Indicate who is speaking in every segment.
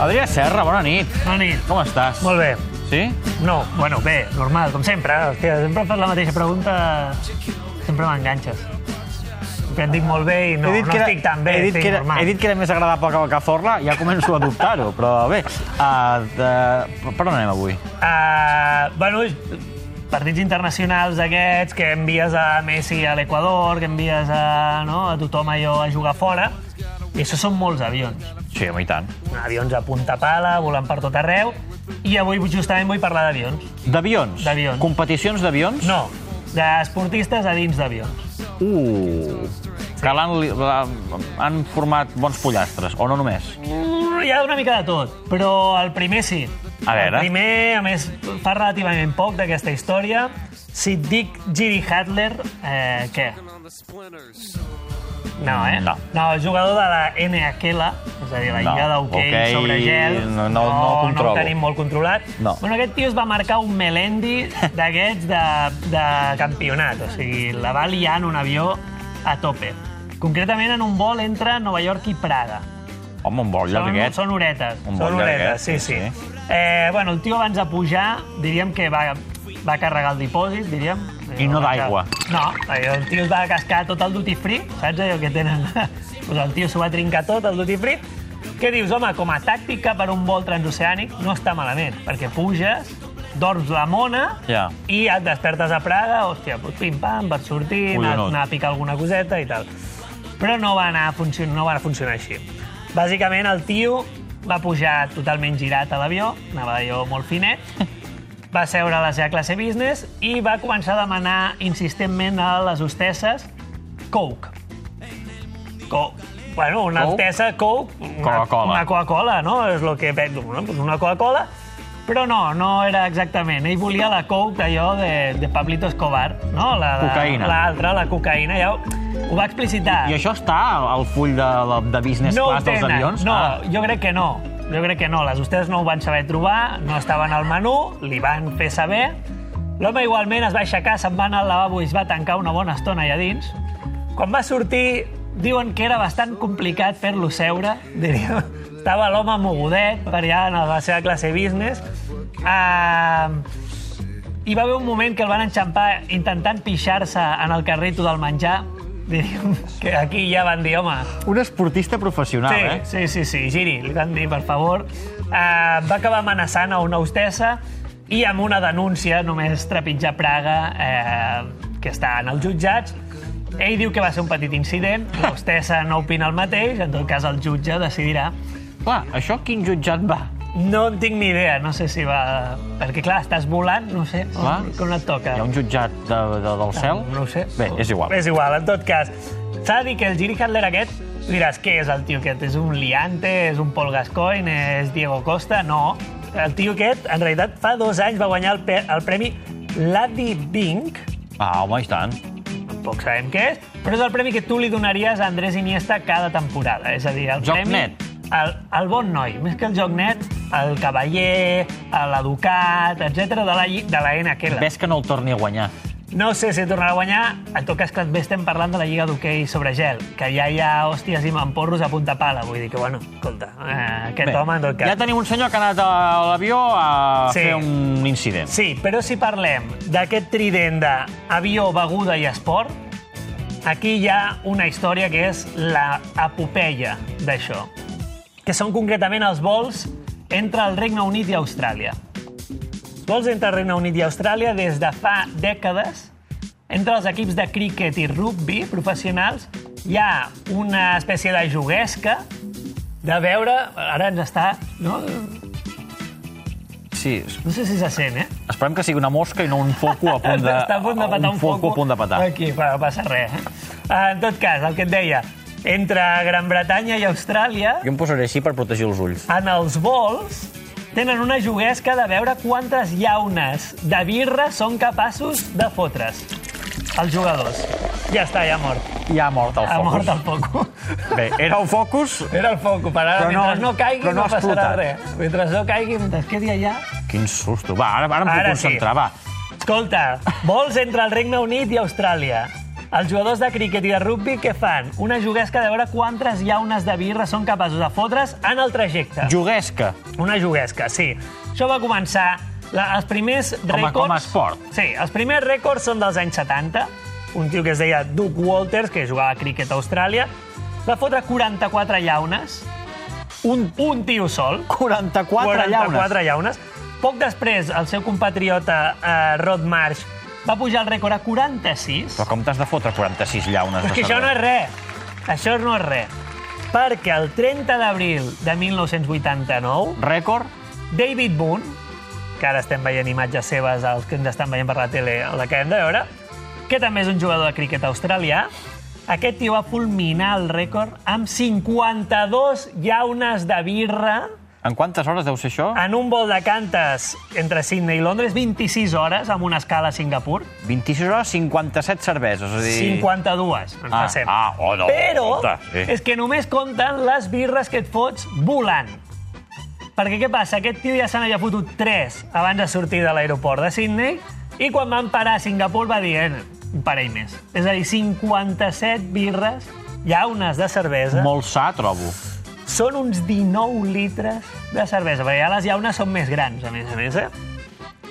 Speaker 1: Adrià Serra, bona nit.
Speaker 2: Bona nit.
Speaker 1: Com estàs?
Speaker 2: Molt bé.
Speaker 1: Sí?
Speaker 2: No, bueno, bé, normal, com sempre. Hòstia, sempre fas la mateixa pregunta, sempre m'enganxes. Sempre et dic molt bé i no, no estic tan bé,
Speaker 1: he dit,
Speaker 2: estic
Speaker 1: que era,
Speaker 2: normal.
Speaker 1: he dit que era més agradable que el Cazorla, ja començo a dubtar-ho, però bé. Uh, de... Per on anem avui?
Speaker 2: Uh, bueno, partits internacionals d'aquests que envies a Messi a l'Equador, que envies a, no, a tothom allò a jugar fora, i això són molts avions.
Speaker 1: Sí, home, i tant.
Speaker 2: Avions a punta pala, volant per tot arreu, i avui justament vull parlar d'avions.
Speaker 1: D'avions?
Speaker 2: D'avions.
Speaker 1: Competicions d'avions?
Speaker 2: No, d'esportistes a dins d'avions.
Speaker 1: Uh, que l'han li- la- han format bons pollastres, o no només?
Speaker 2: Mm, Hi ha una mica de tot, però el primer sí.
Speaker 1: A veure.
Speaker 2: El primer, a més, fa relativament poc d'aquesta història. Si et dic Giri Hadler, eh, què? No, eh?
Speaker 1: No.
Speaker 2: no, el jugador de la NHL, és a dir, la
Speaker 1: No.
Speaker 2: lliga d'hoquei
Speaker 1: Hoquei
Speaker 2: sobre gel,
Speaker 1: no- no- no ho
Speaker 2: no,
Speaker 1: controlo.
Speaker 2: ho tenim molt controlat.
Speaker 1: No.
Speaker 2: Bueno, aquest tio es va marcar un Melendi d'aquests de, de campionat, o sigui, la va liar en un avió a tope. Concretament en un vol entre Nova York i Praga.
Speaker 1: Home, un bon
Speaker 2: Són,
Speaker 1: llarguet.
Speaker 2: són horetes.
Speaker 1: Un
Speaker 2: són
Speaker 1: bon llarguet,
Speaker 2: horetes, sí,
Speaker 1: sí,
Speaker 2: sí. Eh, bueno, el tio abans de pujar, diríem que va, va carregar el dipòsit, diríem.
Speaker 1: I no d'aigua.
Speaker 2: No, allò, el tio es va cascar tot el duty free, saps allò que tenen? pues el tio s'ho va trincar tot, el duty free. Què dius, home, com a tàctica per un vol transoceànic no està malament, perquè puges, dorms la mona
Speaker 1: Ja.
Speaker 2: i et despertes a Praga, hòstia, pues pim-pam, vas sortir, anar,
Speaker 1: Collonot.
Speaker 2: anar a picar alguna coseta i tal. Però no va, anar a funcionar, no va anar a funcionar així. Bàsicament, el tio va pujar totalment girat a l'avió, anava allò molt finet, va seure a la seva classe business i va començar a demanar insistentment a les hostesses Coke. Co bueno, una
Speaker 1: Coke?
Speaker 2: hostessa Coke, una-
Speaker 1: Coca-Cola.
Speaker 2: una Coca-Cola, no? És lo que veig, bueno, pues una Coca-Cola, però no, no era exactament. Ell volia la Coke, allò de, de Pablito Escobar, no? La, de-
Speaker 1: Cocaïna.
Speaker 2: L'altra, la cocaïna, ja ho, ho va explicitar.
Speaker 1: I això està al full de, de business
Speaker 2: no ho
Speaker 1: class dels
Speaker 2: tenen.
Speaker 1: avions?
Speaker 2: No,
Speaker 1: Ah.
Speaker 2: jo crec que no. Jo crec que no. Les hostesses no ho van saber trobar, no estaven al menú, li van fer saber. L'home igualment es va aixecar, se'n va anar al lavabo i es va tancar una bona estona allà dins. Quan va sortir, diuen que era bastant complicat fer-lo seure, diria. Estava l'home mogudet per allà en la seva classe business. Uh, hi va haver un moment que el van enxampar intentant pixar-se en el carrito del menjar. Diríem que aquí ja van dir, home,
Speaker 1: Un esportista professional,
Speaker 2: sí,
Speaker 1: eh?
Speaker 2: Sí, sí, sí, giri, li van dir, per favor. Uh, va acabar amenaçant a una hostessa i amb una denúncia només trepitjar Praga, eh, que està en els jutjats. Ell diu que va ser un petit incident, l'hostessa no opina el mateix, en tot cas el jutge decidirà.
Speaker 1: Clar, això quin jutjat va?
Speaker 2: No en tinc ni idea, no sé si va... Perquè, clar, estàs volant, no sé
Speaker 1: Clar.
Speaker 2: on, on et toca.
Speaker 1: Hi ha un jutjat de, de, del cel?
Speaker 2: No ho sé.
Speaker 1: Bé, és igual.
Speaker 2: És igual, en tot cas. S'ha de dir que el Giri Hadler aquest, diràs, què és el tio aquest? És un liante, és un Paul Gascoigne, és Diego Costa? No. El tio aquest, en realitat, fa dos anys va guanyar el, pe- el premi Lady Bing,
Speaker 1: Ah, home, i tant.
Speaker 2: tampoc sabem què és, però és el premi que tu li donaries a Andrés Iniesta cada temporada. És a dir, el
Speaker 1: Joc
Speaker 2: premi...
Speaker 1: net.
Speaker 2: El, el bon noi, més que el joc net, el cavaller, l'educat, etc de la, lli- de la NQL.
Speaker 1: Ves que no el torni a guanyar.
Speaker 2: No sé si tornarà a guanyar. En tot cas, clar, bé, estem parlant de la Lliga d'Hockey sobre gel, que ja hi ha hòsties i mamporros a punta pala. Vull dir que, bueno, escolta, eh, aquest
Speaker 1: Bé,
Speaker 2: home, en tot cas...
Speaker 1: ja tenim un senyor que ha anat a l'avió a
Speaker 2: Sí.
Speaker 1: fer un incident.
Speaker 2: Sí, però si parlem d'aquest trident d'avió, beguda i esport, aquí hi ha una història que és la epopeia d'això, que són concretament els vols entre el Regne Unit i Austràlia. Els vols entre el Regne Unit i Austràlia des de fa dècades, entre els equips de críquet i rugby professionals, hi ha una espècie de juguesca de veure... Ara ens està... No,
Speaker 1: Sí.
Speaker 2: no sé si se sent, eh?
Speaker 1: Esperem que sigui una mosca i no un foco a punt de...
Speaker 2: Està a punt de patar un,
Speaker 1: un foco a punt de patar.
Speaker 2: Aquí, però no passa res. Eh? Ah, En tot cas, el que et deia, entre Gran Bretanya i Austràlia,
Speaker 1: Jo em posaré així per protegir els ulls.
Speaker 2: en els vols, tenen una juguesca de veure quantes llaunes de birra són capaços de fotre's els jugadors. Ja està, ja ha mort.
Speaker 1: Ja ha mort el
Speaker 2: Ha
Speaker 1: focus.
Speaker 2: mort el foco.
Speaker 1: Bé, era un focus...
Speaker 2: Era el foco, per ara,
Speaker 1: Però no-
Speaker 2: mentre no caigui
Speaker 1: però no
Speaker 2: no,
Speaker 1: ha
Speaker 2: passarà
Speaker 1: explotat.
Speaker 2: res. Mentre no caigui, mentre es quedi allà...
Speaker 1: Quin susto. Va, ara, ara em puc
Speaker 2: Ara sí.
Speaker 1: concentrar, va.
Speaker 2: Escolta, vols entre el Regne Unit i Austràlia. Els jugadors de críquet i de rugbi què fan? Una juguesca de veure quantes llaunes de birra són capaços de fotre's en el trajecte.
Speaker 1: Juguesca.
Speaker 2: Una juguesca, sí. Això va començar... La, els primers
Speaker 1: a-
Speaker 2: rècords...
Speaker 1: com a esport.
Speaker 2: Sí, els primers rècords són dels anys 70. Un tio que es deia Duke Walters, que jugava a críquet a Austràlia, va fotre 44 llaunes, un, un tio sol.
Speaker 1: 44 llaunes.
Speaker 2: 44 llaunes. Poc després, el seu compatriota eh, Rod Marsh va pujar el rècord a 46.
Speaker 1: Però com t'has de fotre 46 llaunes?
Speaker 2: Però és que això no és res. Això no és res. Perquè el 30 d'abril de 1989,
Speaker 1: Rècord?
Speaker 2: David Boone, que ara estem veient imatges seves als que ens estan veient per la tele, la que hem de veure, que també és un jugador de críquet australià, aquest tio va fulminar el rècord amb 52 llaunes de birra
Speaker 1: En quantes hores deu ser això?
Speaker 2: en un vol de cantes entre Sydney i Londres, 26 hores, amb una escala a Singapur.
Speaker 1: 26 hores, 57 cerveses. És a dir...
Speaker 2: 52, ens
Speaker 1: Ah,
Speaker 2: passem.
Speaker 1: ah, oh, no,
Speaker 2: Però
Speaker 1: escolta, sí.
Speaker 2: és que només compten les birres que et fots volant. Perquè què passa? Aquest tio ja se n'havia fotut 3 abans de sortir de l'aeroport de Sydney i quan van parar a Singapur va dir "Eh, un parell més. És a dir, 57 birres, llaunes de cervesa,
Speaker 1: Molt sa, trobo.
Speaker 2: són uns 19 litres de cervesa, perquè ja les llaunes són més grans, a més a més, eh?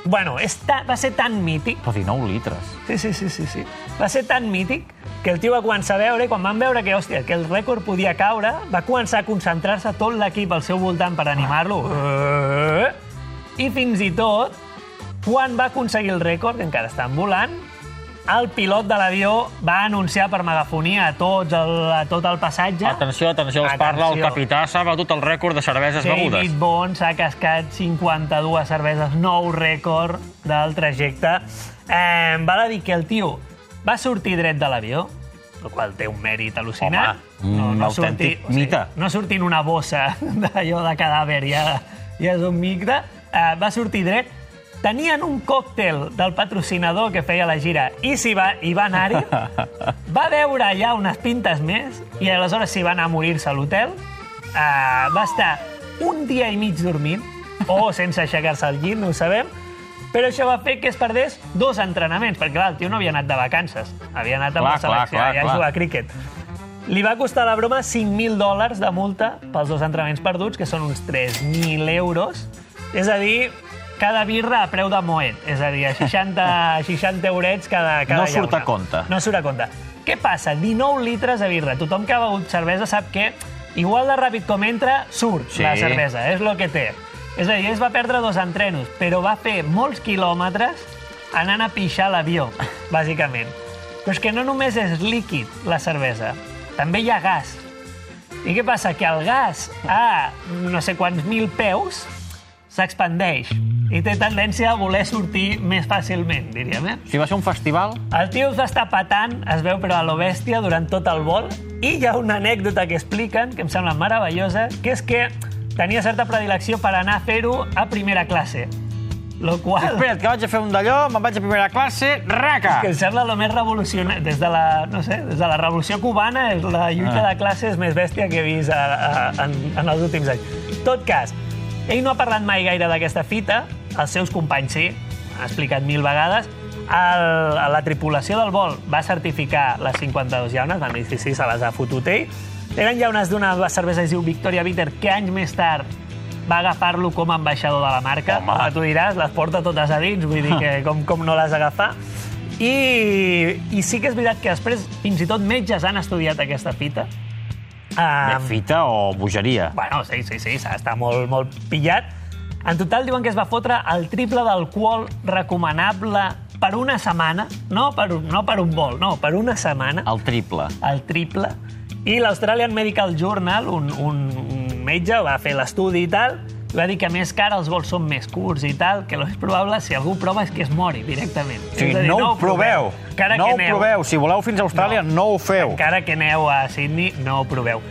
Speaker 2: Bueno, és ta... va ser tan mític
Speaker 1: Però 19 litres.
Speaker 2: Sí, sí, sí, sí, sí. Va ser tan mític que el tio va començar a veure, i quan van veure que, hòstia, que el rècord podia caure, va començar a concentrar-se tot l'equip al seu voltant per animar-lo. Eh? I fins i tot, quan va aconseguir el rècord, que encara estan volant, el pilot de l'avió va anunciar per megafonia a, tots el, a tot el passatge
Speaker 1: Atenció, atenció, us
Speaker 2: Atenció.
Speaker 1: parla el capità, s'ha batut el rècord de cerveses begudes.
Speaker 2: David Bond s'ha cascat 52 cerveses, nou rècord del trajecte. Eh, val a dir que el tio va sortir dret de l'avió, el qual té un mèrit al·lucinant.
Speaker 1: Home, un autèntic mite.
Speaker 2: No sortir en una bossa d'allò de cadàver, ja, ja és un mite. Eh, va sortir dret, tenien un còctel del patrocinador que feia la gira i s'hi va, i va anar-hi, va veure allà unes pintes més i aleshores s'hi va anar a morir-se a l'hotel. Uh, va estar un dia i mig dormint, o sense aixecar-se al llit, no ho sabem, però això va fer que es perdés dos entrenaments, perquè clar, el tio no havia anat de vacances, havia anat amb
Speaker 1: Clar,
Speaker 2: la selecció
Speaker 1: clar, clar,
Speaker 2: i a
Speaker 1: clar.
Speaker 2: jugar a críquet. Li va costar la broma 5.000 dòlars de multa pels dos entrenaments perduts, que són uns 3.000 euros. És a dir, cada birra a preu de moet. És a dir, a 60, 60 eurets cada, cada
Speaker 1: No surt
Speaker 2: llauna.
Speaker 1: a compte.
Speaker 2: No surt a compte. Què passa? 19 litres de birra. Tothom que ha begut cervesa sap que igual de ràpid com entra, surt
Speaker 1: Sí.
Speaker 2: la cervesa. És lo que té. És a dir, es va perdre dos entrenos, però va fer molts quilòmetres anant a pixar a l'avió, bàsicament. Però és que no només és líquid, la cervesa. També hi ha gas. I què passa? Que el gas a no sé quants mil peus s'expandeix i té tendència a voler sortir més fàcilment, diríem, eh?
Speaker 1: Si va ser un festival,
Speaker 2: El tio es va estar patant, es veu, però a lo bèstia durant tot el vol. I hi ha una anècdota que expliquen, que em sembla meravellosa, que és que tenia certa predilecció per anar a fer-ho a primera classe. Lo qual,
Speaker 1: espera't, que vaig a fer un d'allò, me'n vaig a primera classe, raca!
Speaker 2: que em sembla lo més revolucionari. Des de la, no sé, des de la revolució cubana, és la lluita de classes més bèstia que he vist a, a, en, en els últims anys. Tot cas, ell no ha parlat mai gaire d'aquesta fita, els seus companys sí, ha explicat mil vegades, el, a la tripulació del vol va certificar les 52 llaunes, van dir sí, sí, se les ha fotut ell. Eren llaunes d'una cervesa que es diu Victoria Bitter, que anys més tard va agafar-lo com a ambaixador de la marca.
Speaker 1: Home.
Speaker 2: Ara tu diràs, les porta totes a dins, vull dir que com, com no les agafar. I, I sí que és veritat que després fins i tot metges han estudiat aquesta fita.
Speaker 1: Bé,
Speaker 2: Um,
Speaker 1: Fita o bogeria?
Speaker 2: Bueno, sí, sí, sí, està molt, molt pillat. En total diuen que es va fotre el triple d'alcohol recomanable per una setmana, no per, un- no per un vol, no, per una setmana,
Speaker 1: El triple.
Speaker 2: el triple. I l'Australian Medical Journal, un, un, un metge, va fer l'estudi i tal, i va dir que a més que ara els vols són més curts i tal, que el més probable, si algú prova, és que es mori directament.
Speaker 1: O sigui,
Speaker 2: És a dir,
Speaker 1: no, ho proveu.
Speaker 2: Encara
Speaker 1: no
Speaker 2: que
Speaker 1: ho
Speaker 2: aneu.
Speaker 1: proveu. Si voleu fins a Austràlia, no, ho feu.
Speaker 2: Encara que aneu a Sydney, no ho proveu.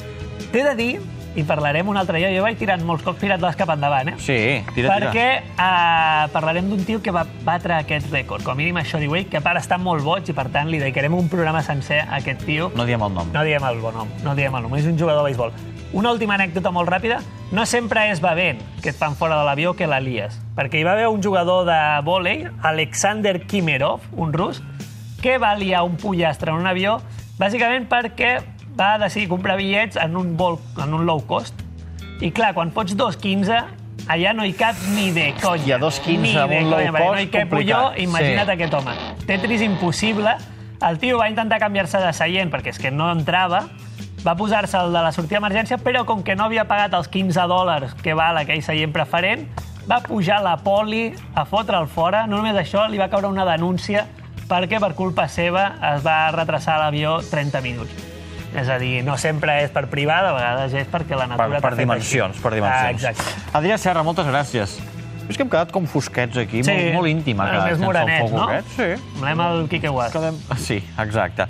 Speaker 2: T'he de dir, i parlarem un altre dia, jo vaig tirant molts cops tirant-les cap endavant, eh?
Speaker 1: Sí, tira, tira.
Speaker 2: Perquè uh, parlarem d'un tio que va batre aquest rècord. Com a mínim això diu ell, que a part està molt boig i per tant li dedicarem un programa sencer a aquest tio.
Speaker 1: No diem el nom.
Speaker 2: No diem el bon nom, no diem el nom, és un jugador de béisbol. Una última anècdota molt ràpida. No sempre és bevent que et fan fora de l'avió que la lies, perquè hi va haver un jugador de vòlei, Alexander Kimerov, un rus, que va liar un pollastre en un avió, bàsicament perquè va decidir comprar bitllets en un, vol, en un low cost. I clar, quan fots 2,15, allà no hi cap ni de
Speaker 1: Hòstia,
Speaker 2: conya.
Speaker 1: 2,15
Speaker 2: Ni
Speaker 1: amb
Speaker 2: de
Speaker 1: un low
Speaker 2: conya, perquè No hi
Speaker 1: cost,
Speaker 2: cap jo,
Speaker 1: complicat.
Speaker 2: imagina't
Speaker 1: Sí.
Speaker 2: aquest home. Tetris impossible. El tio va intentar canviar-se de seient perquè és que no entrava. Va posar-se el de la sortida d'emergència, però com que no havia pagat els 15 dòlars que val aquell seient preferent, va pujar la poli a fotre'l fora. No només això, li va caure una denúncia perquè per culpa seva es va retrasar l'avió 30 minuts. És a dir, no sempre és per privar, de vegades és perquè la
Speaker 3: Per,
Speaker 2: natura... t'ha
Speaker 3: per
Speaker 2: fet
Speaker 3: dimensions,
Speaker 2: així.
Speaker 3: per dimensions.
Speaker 2: Ah, exacte.
Speaker 1: Adrià Serra, moltes gràcies. És que hem quedat com fosquets aquí,
Speaker 2: Sí.
Speaker 1: molt, molt íntim. ha
Speaker 2: Bueno,
Speaker 1: quedat
Speaker 2: més
Speaker 1: sense el
Speaker 2: morenets,
Speaker 1: foc
Speaker 2: no?
Speaker 1: aquest. Sí.
Speaker 2: Volem el Quique Guas.
Speaker 1: Quedem... Sí, exacte.